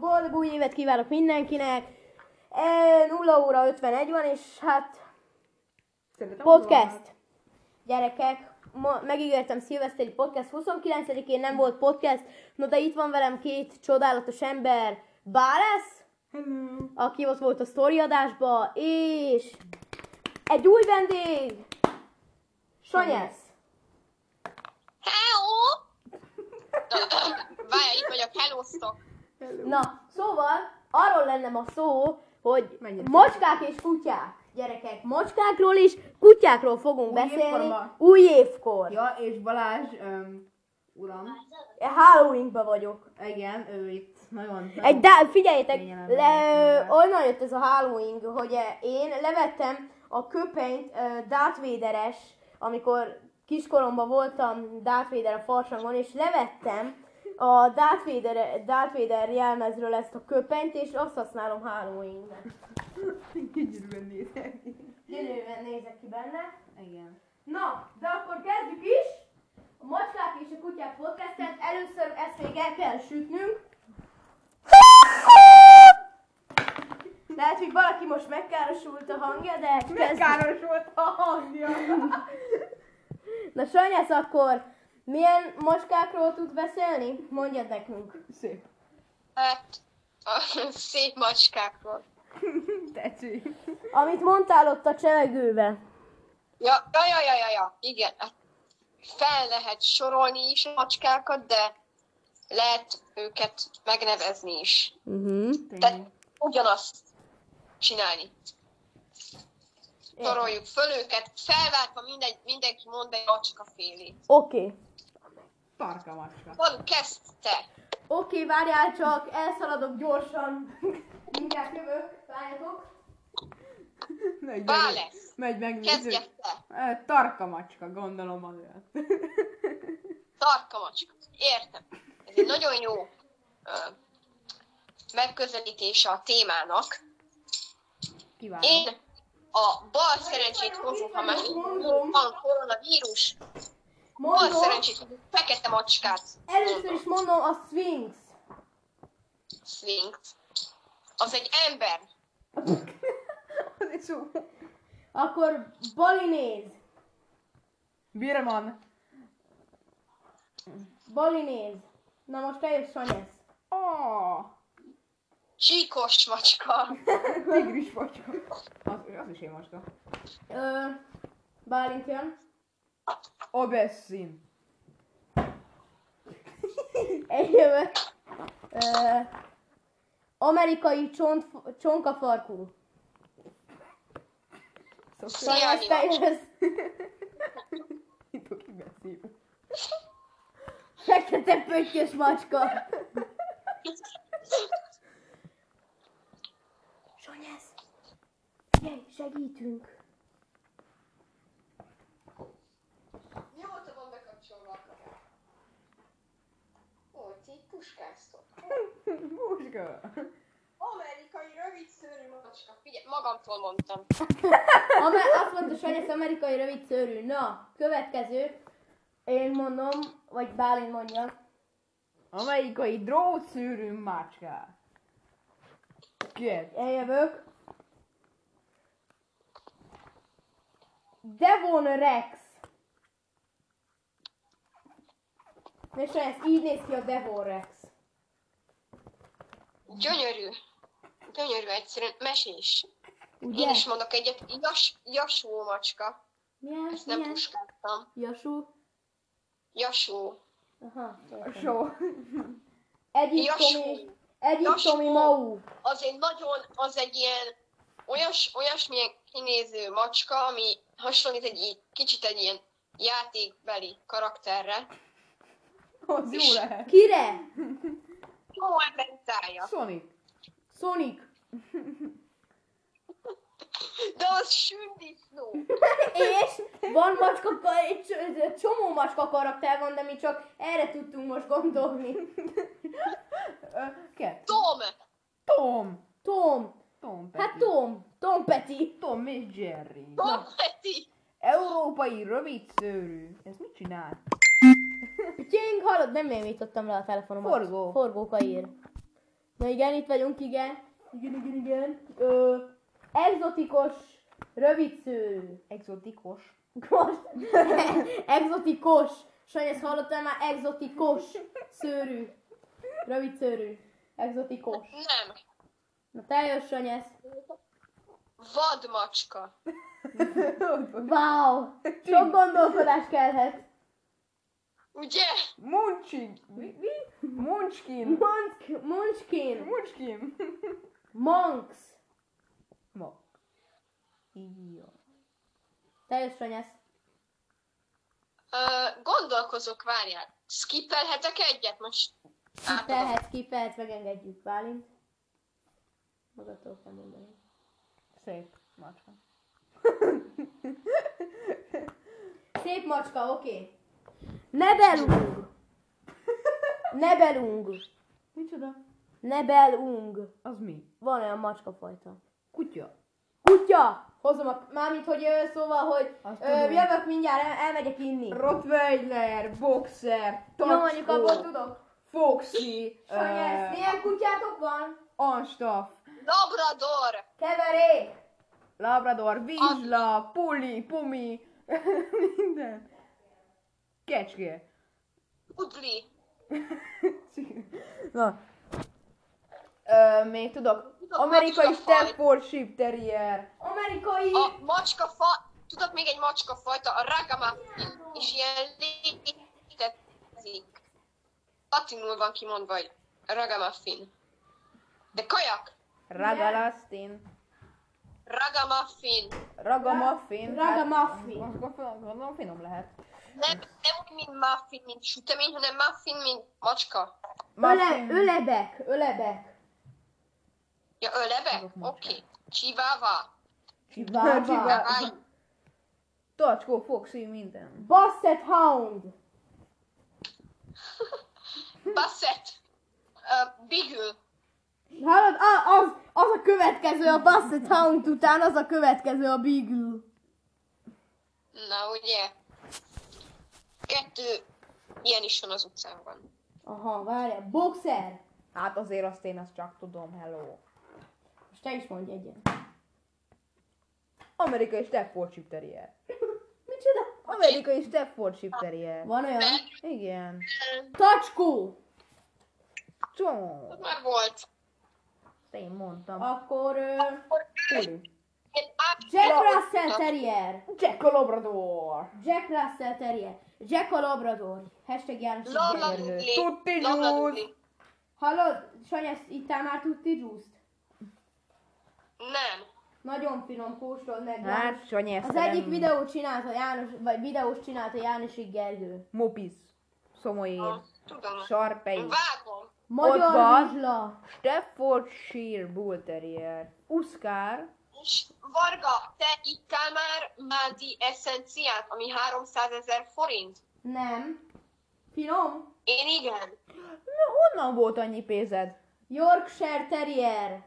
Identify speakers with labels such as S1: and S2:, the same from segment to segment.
S1: boldog új évet kívánok mindenkinek. E, 0 óra 51 van, és hát
S2: Szerintem
S1: podcast. Gyerekek, ma megígértem szilveszteri podcast 29-én nem volt podcast, no de itt van velem két csodálatos ember. Bálesz,
S2: Hello.
S1: aki ott volt a sztori adásba, és egy új vendég, Sanyesz.
S3: Hello! Várj, itt vagyok, hellóztok.
S2: Hello.
S1: Na, szóval arról lenne ma szó, hogy
S2: Menjünk.
S1: macskák és kutyák. Gyerekek, macskákról és kutyákról fogunk
S2: Új
S1: beszélni
S2: évkorban.
S1: új évkor. Ja.
S2: Ja, és Balázs, um, uram,
S1: Halloweenban vagyok.
S2: igen, ő itt nagyon... nagyon
S1: Egy dá- figyeljétek,
S2: Kényelemben
S1: le,
S2: jött be.
S1: onnan jött ez a Halloween, hogy eh, én levettem a köpenyt eh, Darth Vader-es, amikor kiskoromban voltam Darth Vader a farsangon, és levettem a Darth Vader, Darth Vader jelmezről ezt a köpenyt, és azt használom Halloween-ben.
S2: Gyönyörűen nézek.
S1: Gyönyörűen nézek ki benne.
S2: Igen.
S1: Na, de akkor kezdjük is! A macskák és a kutyák podcastet. Először ezt még el kell sütnünk. Lehet, hogy valaki most megkárosult a hangja, de kezdjük.
S2: Káros volt a hangja.
S1: Na Sanyasz, akkor milyen macskákról tud beszélni? Mondjad nekünk.
S2: Szép.
S3: Hát, a szép macskákról.
S2: Tetszik.
S1: Amit mondtál ott a csevegőbe.
S3: Ja, ja, ja, ja, ja, ja, igen. hát Fel lehet sorolni is a macskákat, de lehet őket megnevezni is.
S1: Uh-huh.
S2: Mm.
S3: Tehát ugyanazt csinálni. Soroljuk föl őket, felváltva mindegy, mindenki mond egy macska félét.
S1: Oké. Okay.
S2: Tarka macska.
S3: Van, kezd te!
S1: Oké, okay, várjál csak, elszaladok gyorsan. Mindjárt jövök, várjatok.
S2: Megy,
S3: Bá
S2: meg,
S3: lesz.
S2: megy megnézzük.
S3: Kezdje te!
S2: Ö, Tarka macska, gondolom azért.
S3: Tarka macska. Értem. Ez egy nagyon jó ö, megközelítése a témának.
S2: Kívánom.
S3: Én a bal szerencsét hozunk, ha már van koronavírus, bal
S1: Mondom,
S3: szerencsét hozunk, fekete macskát.
S1: először is mondom a Sphinx.
S3: Sphinx. Az egy ember.
S2: Az egy szó.
S1: Akkor balinéz.
S2: Birman.
S1: Balinéz. Na most te jössz, Sanyesz.
S2: Oh,
S3: Csíkos macska.
S2: tigris macska. Az, az is én macska.
S1: Ö, Bálint jön.
S2: Obessin.
S1: Egy jövök. Ö, amerikai csont, csonkafarkú.
S2: Szóval
S1: Sanyesz, te jössz.
S2: itt a kibeszél.
S1: Fekete pöttyös macska. Sanyesz. Figyelj, segítünk.
S3: Nyugodtan van bekapcsolva a kamera. Ó, ti puskáztok.
S2: Búzsga.
S3: Amerikai rövidszőrű macska. Figyelj, magamtól mondtam.
S1: Amer, azt mondta Sanyesz amerikai rövid szőrű. Na, következő. Én mondom, vagy Bálint mondja.
S2: Amerikai drótszűrű macska. Két.
S1: Eljövök. Devon Rex. És ez így néz ki a Devon Rex.
S3: Gyönyörű. Gyönyörű egyszerűen. Mesés.
S1: Ugye?
S3: Én is mondok egyet. Jas, jasó macska.
S1: Milyen?
S3: Ezt nem
S1: Milyen?
S3: puskáztam.
S1: Jasú?
S3: Jasó.
S1: Aha. értem.
S2: Só.
S1: Egyiptomi,
S3: Jasú.
S1: egyiptomi
S3: Jasú.
S1: mau.
S3: Az egy nagyon, az egy ilyen olyas, olyasmilyen kinéző macska, ami hasonlít egy i- kicsit egy ilyen játékbeli karakterre.
S2: Az jó lehet.
S1: Kire?
S3: Jó emberitája.
S2: Sonic.
S1: Sonic.
S3: De az sündisznó.
S1: És van macska, ka- egy cs- csomó macska karakter van, de mi csak erre tudtunk most gondolni.
S2: Ö, Két.
S3: Tom.
S2: Tom.
S1: Tom.
S2: Tom Petty.
S1: Hát Tom. Tom Peti.
S2: Tom és Jerry.
S3: Tom Petty.
S2: Európai rövidszőrű. Ez mit csinál?
S1: Pitying, hallod, nem én nyitottam le a telefonomat.
S2: Forgó.
S1: Forgóka ír. Na igen, itt vagyunk, igen. Igen, igen, igen. Ö, exotikus rövidszőrű.
S2: Exotikus.
S1: Kos. exotikus. Sanyi, ezt hallottál már? Exotikus szőrű. Rövid szőrű. Exotikus.
S3: Nem.
S1: Na te jössz, Sanyi, ez.
S3: Vadmacska.
S1: Wow! Sok gondolkodás kellhet.
S3: Ugye?
S2: Muncsin. Mi? mi? Munchkin.
S1: Monk, munchkin.
S2: Munchkin.
S1: Monks.
S2: Ma. Jó.
S1: Te jössz, Sanyi, ez.
S3: Ö, gondolkozok, várjál. Skipelhetek egyet most? Átadom.
S1: Kipelhetsz, kipelhetsz, megengedjük, Bálint. Magadtól kell mondani.
S2: Szép macska.
S1: Szép macska, oké. Okay. Nebelung. Nebelung.
S2: Micsoda?
S1: Nebelung.
S2: Az mi?
S1: Van olyan macska fajta.
S2: Kutya.
S1: Kutya! Hozom a... Mármint, hogy ö, szóval, hogy
S2: Azt
S1: ö,
S2: tudom.
S1: jövök mindjárt, el, elmegyek inni. Jó,
S2: Rottweiler, Boxer,
S1: mondjuk abból tudok.
S2: Foxy,
S1: Sanyesz, milyen kutyátok van?
S2: Anstaff,
S3: Labrador.
S1: Keverék!
S2: Labrador, Vizsla, Puli, Pumi, minden. Kecske.
S3: Pudli.
S2: Na. Ö, még tudok.
S3: Tudok,
S2: Amerikai
S3: macska faj.
S2: Stafford Ship Terrier.
S1: Amerikai...
S3: A macska fa... Tudod még egy macska fajta? A ragamuffin. És ilyen létezik. Latinul van kimondva, hogy ragamuffin. De kajak.
S2: Ragalastin.
S3: Ragamuffin.
S2: Ragamuffin.
S1: Ragamuffin.
S2: Hát, gondolom- Gondolom finom lehet.
S3: Nem, nem úgy, mint muffin, mint sütemény, hanem muffin, mint macska.
S1: Öle,
S2: Muffin.
S1: ölebek, ölebek.
S3: Ja, ölebe?
S2: Azok
S3: Oké.
S2: macskák.
S3: Okay. Chihuahua.
S1: Chihuahua.
S2: Chihuahua.
S3: Kavály.
S2: Tacskó, Foxy, minden.
S1: Basset Hound.
S3: Basset. Uh, bigül.
S1: Hallod, a- az, az a következő a Basset Hound után, az a következő a Beagle.
S3: Na, ugye? Kettő ilyen is van az utcán van.
S1: Aha, várjál, boxer!
S2: Hát azért azt én azt csak tudom, hello.
S1: Most te is mondj egyet.
S2: Amerikai Stafford Ship Terrier.
S1: Micsoda?
S2: Amerikai Stafford Ship Terrier.
S1: Van olyan?
S2: Igen.
S1: Tacskó!
S2: Csó.
S3: Az már volt.
S2: Én mondtam.
S1: Akkor ö,
S2: Puli.
S3: Én át-
S1: Jack
S3: Na,
S1: Russell Terrier.
S2: Jack a Labrador.
S1: Jack Russell Terrier. Jack a Labrador. Hashtag János. is
S3: Lola
S1: Terrier.
S3: Dudley.
S2: Tutti
S3: Lola
S2: Juice.
S3: Dudley.
S1: Hallod, Sanyi, ezt ittál már tutti juice
S3: Nem.
S1: Nagyon finom, kóstold meg. János.
S2: Hát, Sanyi, ezt
S1: Az
S2: nem-
S1: egyik videót csinálta János, vagy videós csinálta Jánosik Gergő.
S2: Mopis. Szomoér.
S3: Ah, Tudom.
S2: Sarpei.
S3: Vágom.
S1: Magyar
S2: van.
S1: Vizsla.
S2: Staffordshire Bull Terrier. Uszkár.
S3: És Varga, te ittál már Mádi eszenciát, ami 300 ezer forint?
S1: Nem. Finom?
S3: Én igen.
S2: Na, honnan volt annyi pénzed?
S1: Yorkshire Terrier.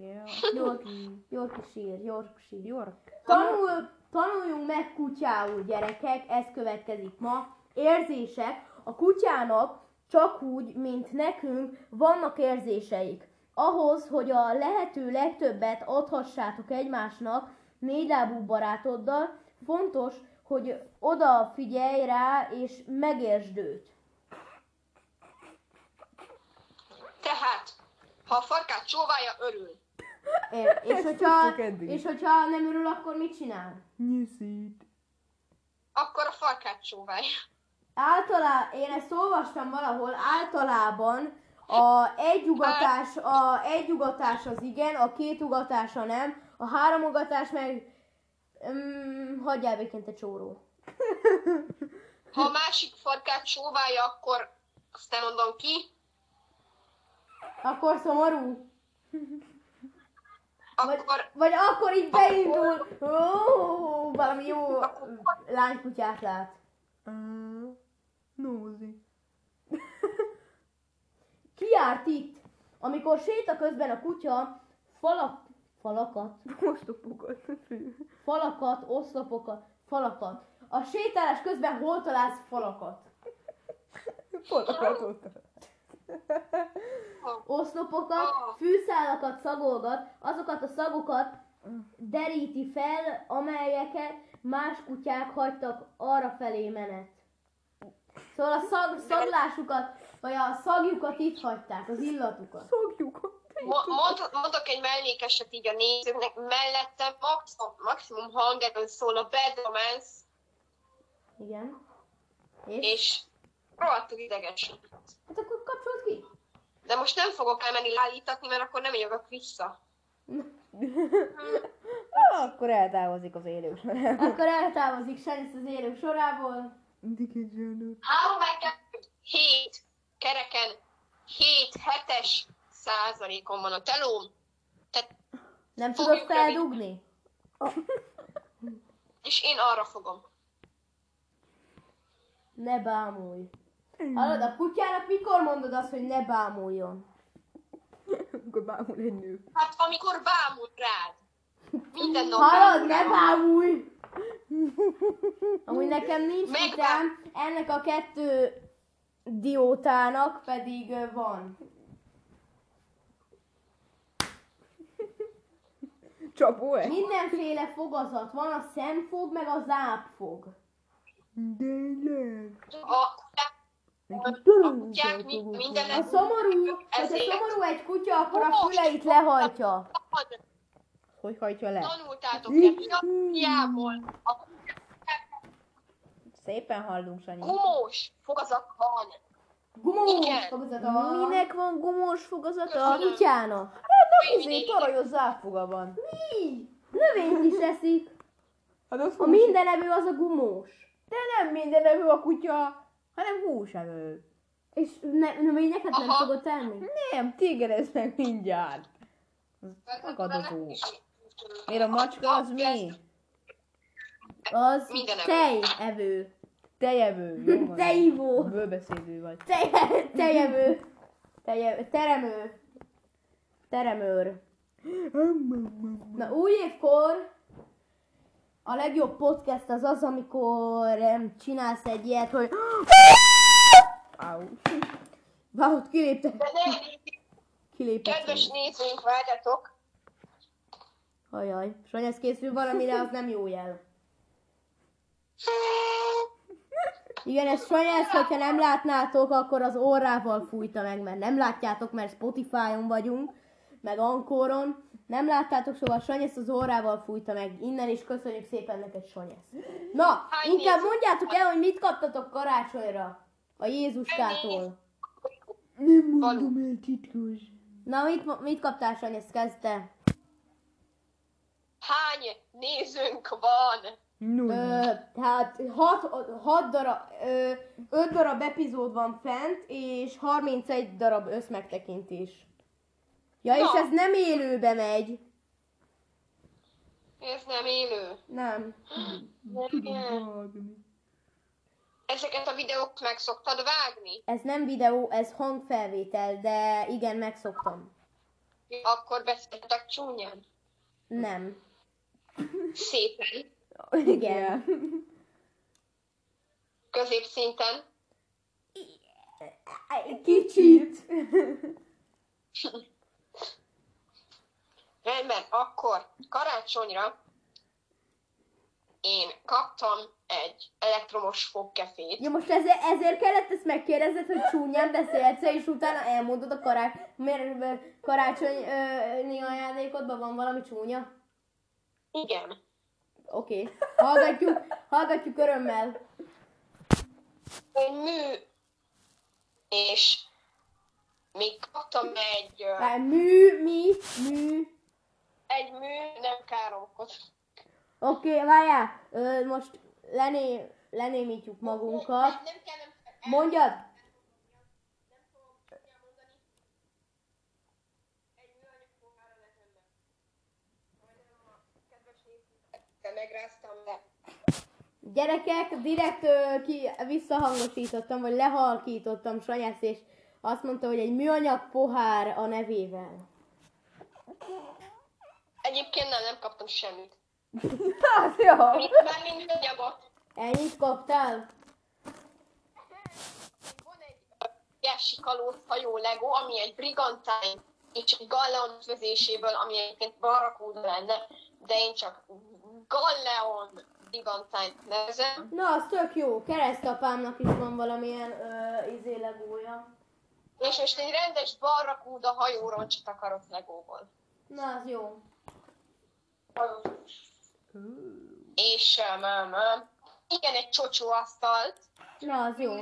S2: Yeah.
S1: York, Yorkshire, Yorkshire.
S2: York.
S1: Tanul, tanuljunk meg kutyául, gyerekek, ez következik ma. Érzések. A kutyának csak úgy, mint nekünk, vannak érzéseik. Ahhoz, hogy a lehető legtöbbet adhassátok egymásnak, négylábú barátoddal, fontos, hogy odafigyelj rá, és megértsd őt.
S3: Tehát, ha a farkát csóválja, örül.
S1: É- És
S2: Ezt
S1: hogyha,
S2: tudtuk eddig.
S1: és hogyha nem örül, akkor mit csinál?
S2: Nyiszít.
S3: Akkor a farkát csóválja.
S1: Általában, én ezt olvastam valahol, általában a egy ugatás, a egy ugatás az igen, a két ugatás a nem, a három ugatás meg... Um, hagyjál békén, te csóró.
S3: Ha a másik farkát csóválja, akkor azt nem mondom ki,
S1: Akkor szomorú? Vagy,
S3: akkor
S1: vagy akkor így beindul, ó, valami jó lánykutyát lát.
S2: Nózi.
S1: Ki járt itt? Amikor séta közben a kutya falak, falakat
S2: Most a pukat.
S1: falakat, oszlopokat, falakat. A sétálás közben hol találsz falakat?
S2: Falakat ott.
S1: oszlopokat, fűszálakat szagolgat, azokat a szagokat deríti fel, amelyeket más kutyák hagytak arra felé menet. Szóval a szag, szaglásukat, vagy a szagjukat itt hagyták, az illatukat.
S2: Fogjuk.
S3: Mo- Mond, mondok egy mellékeset így a nézőknek, mellette maximum, maximum hangerőn szól a Bad Romance,
S1: Igen. És?
S3: és rohadtul idegesen.
S1: Hát akkor kapcsolt ki.
S3: De most nem fogok elmenni állítatni, mert akkor nem jövök vissza.
S2: Akkor eltávozik az élő során.
S1: Akkor eltávozik Senis az élők sorából.
S2: Mindig egy zsönő.
S3: Három meg kettő, hét kereken, hét hetes százalékon van a telóm, tehát,
S1: Nem
S3: Fogjuk
S1: tudod feldugni?
S3: és én arra fogom.
S1: Ne bámulj. Hallod, a kutyának mikor mondod azt, hogy ne bámuljon?
S2: Akkor bámul egy nő.
S3: Hát amikor bámul rád, minden nap
S1: Hallod,
S3: bámul
S1: ne
S3: rád.
S1: bámulj! Amúgy nekem nincs
S3: Meg-
S1: vitám, ennek a kettő diótának pedig ö, van.
S2: Csapó -e?
S1: Mindenféle fogazat van, a szemfog meg a zápfog.
S2: Tényleg.
S3: A kutyák,
S2: Nekünk
S3: a
S2: tolong
S3: kutyák mi- minden
S1: A szomorú, hogyha szomorú egy kutya, akkor a
S3: Most.
S1: füleit lehajtja.
S2: Hogy hajtja le?
S3: tanultátok el, hiából a
S2: Szépen hallunk, Sanyi.
S3: gumós fogazat van.
S1: Gumós
S3: Igen.
S1: fogazata van.
S2: Minek van gumós fogazata?
S1: A kutyának.
S2: Hát izé tarajos zápfoga van.
S1: Mi? Növényt is eszik.
S2: Hát az
S1: A minden evő az a gumós.
S2: De nem minden evő a kutya, hanem húsevő.
S1: És ne, növényeket nem
S3: Aha.
S1: szokott enni?
S2: Nem, tigereznek mindjárt. Akadozó. Miért a macska az mi?
S1: Az
S3: Minden evő.
S1: tejevő.
S2: Tejevő. jó van.
S1: Tejivó.
S2: Bőbeszédő vagy.
S1: Teje- Tejevő. Teje- Teremő. Teremőr. Na új évkor a legjobb podcast az az, amikor em, csinálsz egy ilyet, hogy
S2: Au.
S1: Váhot kilépte,
S3: De ne,
S1: kilépte.
S3: kedves nézőink, várjatok.
S1: Ajaj, és hogy ez készül valamire, az nem jó jel. Igen, ez sajnos, hogyha nem látnátok, akkor az orrával fújta meg, mert nem látjátok, mert Spotify-on vagyunk, meg Ankoron. Nem láttátok, szóval Sanyesz az orrával fújta meg. Innen is köszönjük szépen neked, Sanyesz. Na,
S3: Hány
S1: inkább
S3: néző-
S1: mondjátok el, hogy mit kaptatok karácsonyra a Jézuskától.
S2: Nem
S3: mondom
S2: el titkos.
S1: Na, mit, mit kaptál, Sanyesz? Kezd te.
S3: Hány nézőnk van?
S2: Nulla.
S1: Ö, tehát 6, hat darab, ö, 5 darab epizód van fent, és 31 darab összmegtekintés. Ja, és
S3: Na.
S1: ez nem élőbe megy.
S3: Ez nem élő.
S1: Nem.
S3: Ezeket a videókat meg szoktad vágni?
S1: Ez nem videó, ez hangfelvétel, de igen, megszoktam.
S3: Akkor beszéltek csúnyán.
S1: Nem.
S3: Szépen.
S1: Igen.
S3: Középszinten.
S1: Kicsit.
S3: Rendben, akkor karácsonyra én kaptam egy elektromos fogkefét.
S1: Ja, most ezért, ezért kellett ezt megkérdezned, hogy csúnyán beszélsz, és utána elmondod a karács... Miért ö, karácsonyi ö, ajándékodban van valami csúnya?
S3: Igen.
S1: Oké, hallgatjuk, hallgatjuk örömmel.
S3: Egy mű, és még kaptam egy, ö,
S1: Már mű, mi, mű.
S3: egy mű, nem káromkod.
S1: Oké, várjál, ö, most lené, lenémítjuk magunkat.
S3: Nem kell, nem kell.
S1: Mondjad,
S3: De megráztam, de
S1: gyerekek, direkt ö, ki, visszahangosítottam, vagy lehalkítottam Sanyász, és azt mondta, hogy egy műanyag pohár a nevével.
S3: egyébként nem, nem kaptam semmit.
S2: Hát jó.
S3: Mint, már mind anyagot.
S1: Ennyit kaptál?
S3: Yes, óriási kalózhajó Lego, ami egy brigantine és egy galleon ütvözéséből, ami egyébként barakúda lenne, de én csak galleon brigantine nevezem.
S1: Na, az tök jó. Keresztapámnak is van valamilyen ö, izé izélegója.
S3: És most egy rendes barrakúda hajóroncsit akarok Legóból.
S1: Na, az jó.
S3: És um, um, um, igen, egy csocsóasztalt.
S1: Na, az jó.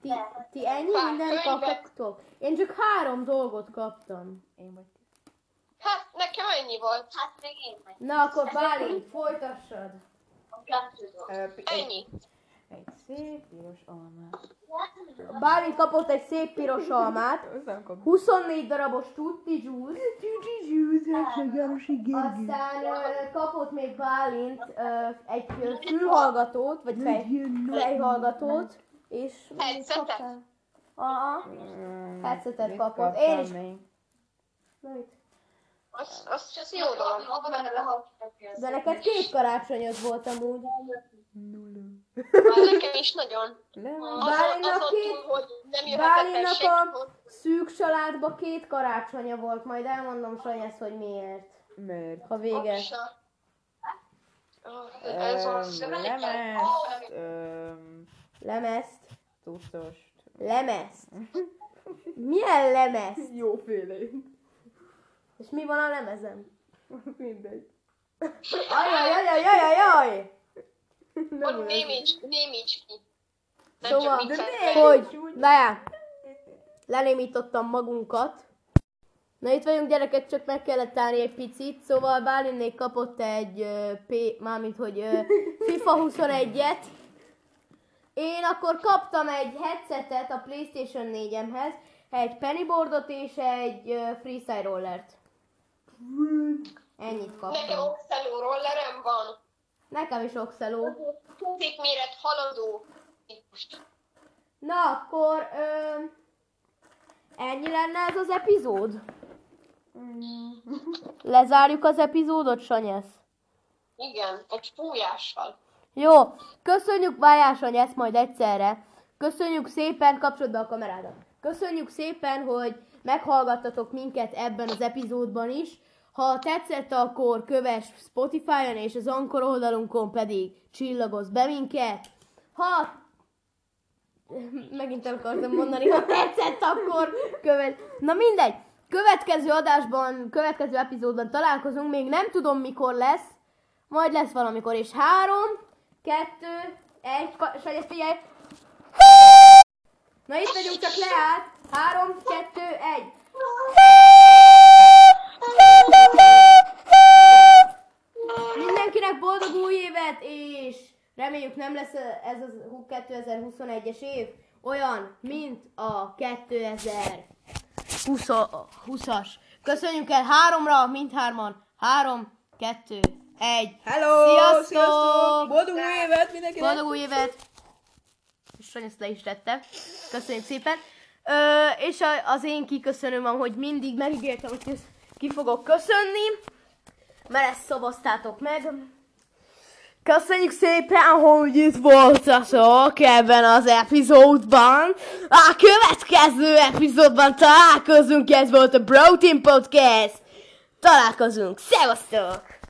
S1: Ti, ti ennyi
S3: Pár
S1: mindent
S3: könyvet.
S1: kaptatok? Én csak három dolgot kaptam.
S2: Én vagy.
S3: Hát nekem ennyi volt.
S4: Hát még én meg.
S1: Na, akkor Bálint, folytassad.
S2: Ö, pi- egy-
S3: Ennyi.
S2: Egy szép piros alma.
S1: Bálint kapott egy szép piros almát,
S2: Hozzám kap.
S1: 24 darabos tutti juice,
S2: Gyügyi Gyűzes, Jánosi Gergő.
S1: aztán ö, kapott még Bálint ö, egy ö, fülhallgatót, vagy fej, fejhallgatót, és
S3: Headsetet?
S1: kaptál. Aha,
S2: Mm,
S1: Headsetet
S2: mit
S1: kapott.
S2: kaptam
S1: Én is-
S2: még?
S1: Na mit?
S3: Az, az csak jó dolog.
S1: de neked két karácsonyod volt amúgy.
S2: Nulla.
S3: Már nekem is nagyon.
S2: Le van.
S3: Azon,
S1: Bálinnak
S3: azon
S1: két-
S3: túl, hogy nem jöhetett el
S1: Bálinnak a
S3: senki.
S1: szűk családba két karácsonya volt, majd elmondom Sanyasz, hogy miért,
S2: Mert
S1: ha vége.
S3: Oksa. Ez az.
S2: öm, lemezt, öm,
S1: Lemezt,
S2: tucost.
S1: lemezt. Milyen lemez?
S2: Jóféle.
S1: És mi van a lemezem?
S2: Mindegy.
S1: Ajaj, ajaj, ajaj, ajaj!
S3: Hogy némíts, némíts ki. Nem
S1: Szóval,
S3: csak viccelt,
S2: miért?
S3: mert-
S1: hogy, várjál, lenémítottam magunkat. Na itt vagyunk gyerekek, csak meg kellett állni egy picit, szóval Bálinnék kapott egy ö, P, mármint hogy ö, FIFA 21-et. Én akkor kaptam egy headsetet a Playstation 4-emhez, egy pennyboardot és egy ö, freestyle rollert. Ennyit
S3: Nekem
S1: kaptam.
S3: oxeló rollerem van.
S1: Nekem is oxeló.
S3: Középméret haladó. típus.
S1: Na akkor ö, ennyi lenne ez az epizód. Mm. Lezárjuk az epizódot, Sanyesz.
S3: Igen, egy fújással.
S1: Jó, köszönjük Vájás Sanyesz majd egyszerre. Köszönjük szépen, kapcsolod be a kamerádat. Köszönjük szépen, hogy meghallgattatok minket ebben az epizódban is. Ha tetszett, akkor kövess Spotify-on és az Ankor oldalunkon pedig csillagozz be minket. Ha megint el akartam mondani, ha tetszett, akkor követ. Na mindegy, következő adásban, következő epizódban találkozunk, még nem tudom mikor lesz, majd lesz valamikor, és három, kettő, egy, ka- Sanyi, ezt figyelj! Na itt vagyunk, csak leállt, három, kettő, egy. Mindenkinek boldog új évet, és reméljük nem lesz ez az 2021-es év olyan, mint a 2020-as. Köszönjük el háromra, mindhárman. Három, kettő, egy.
S2: Hello!
S1: Sziasztok!
S2: Boldog új évet mindenkinek!
S1: Boldog új évet! És Sanyi ezt le is tette. Köszönjük szépen. Ö, és a, az én kiköszönöm, van, hogy mindig megígértem, hogy kösz- ki fogok köszönni, mert ezt szavaztátok meg. Köszönjük szépen, hogy itt voltatok ebben az epizódban. A következő epizódban találkozunk, ez volt a Protein Podcast. Találkozunk, szevasztok!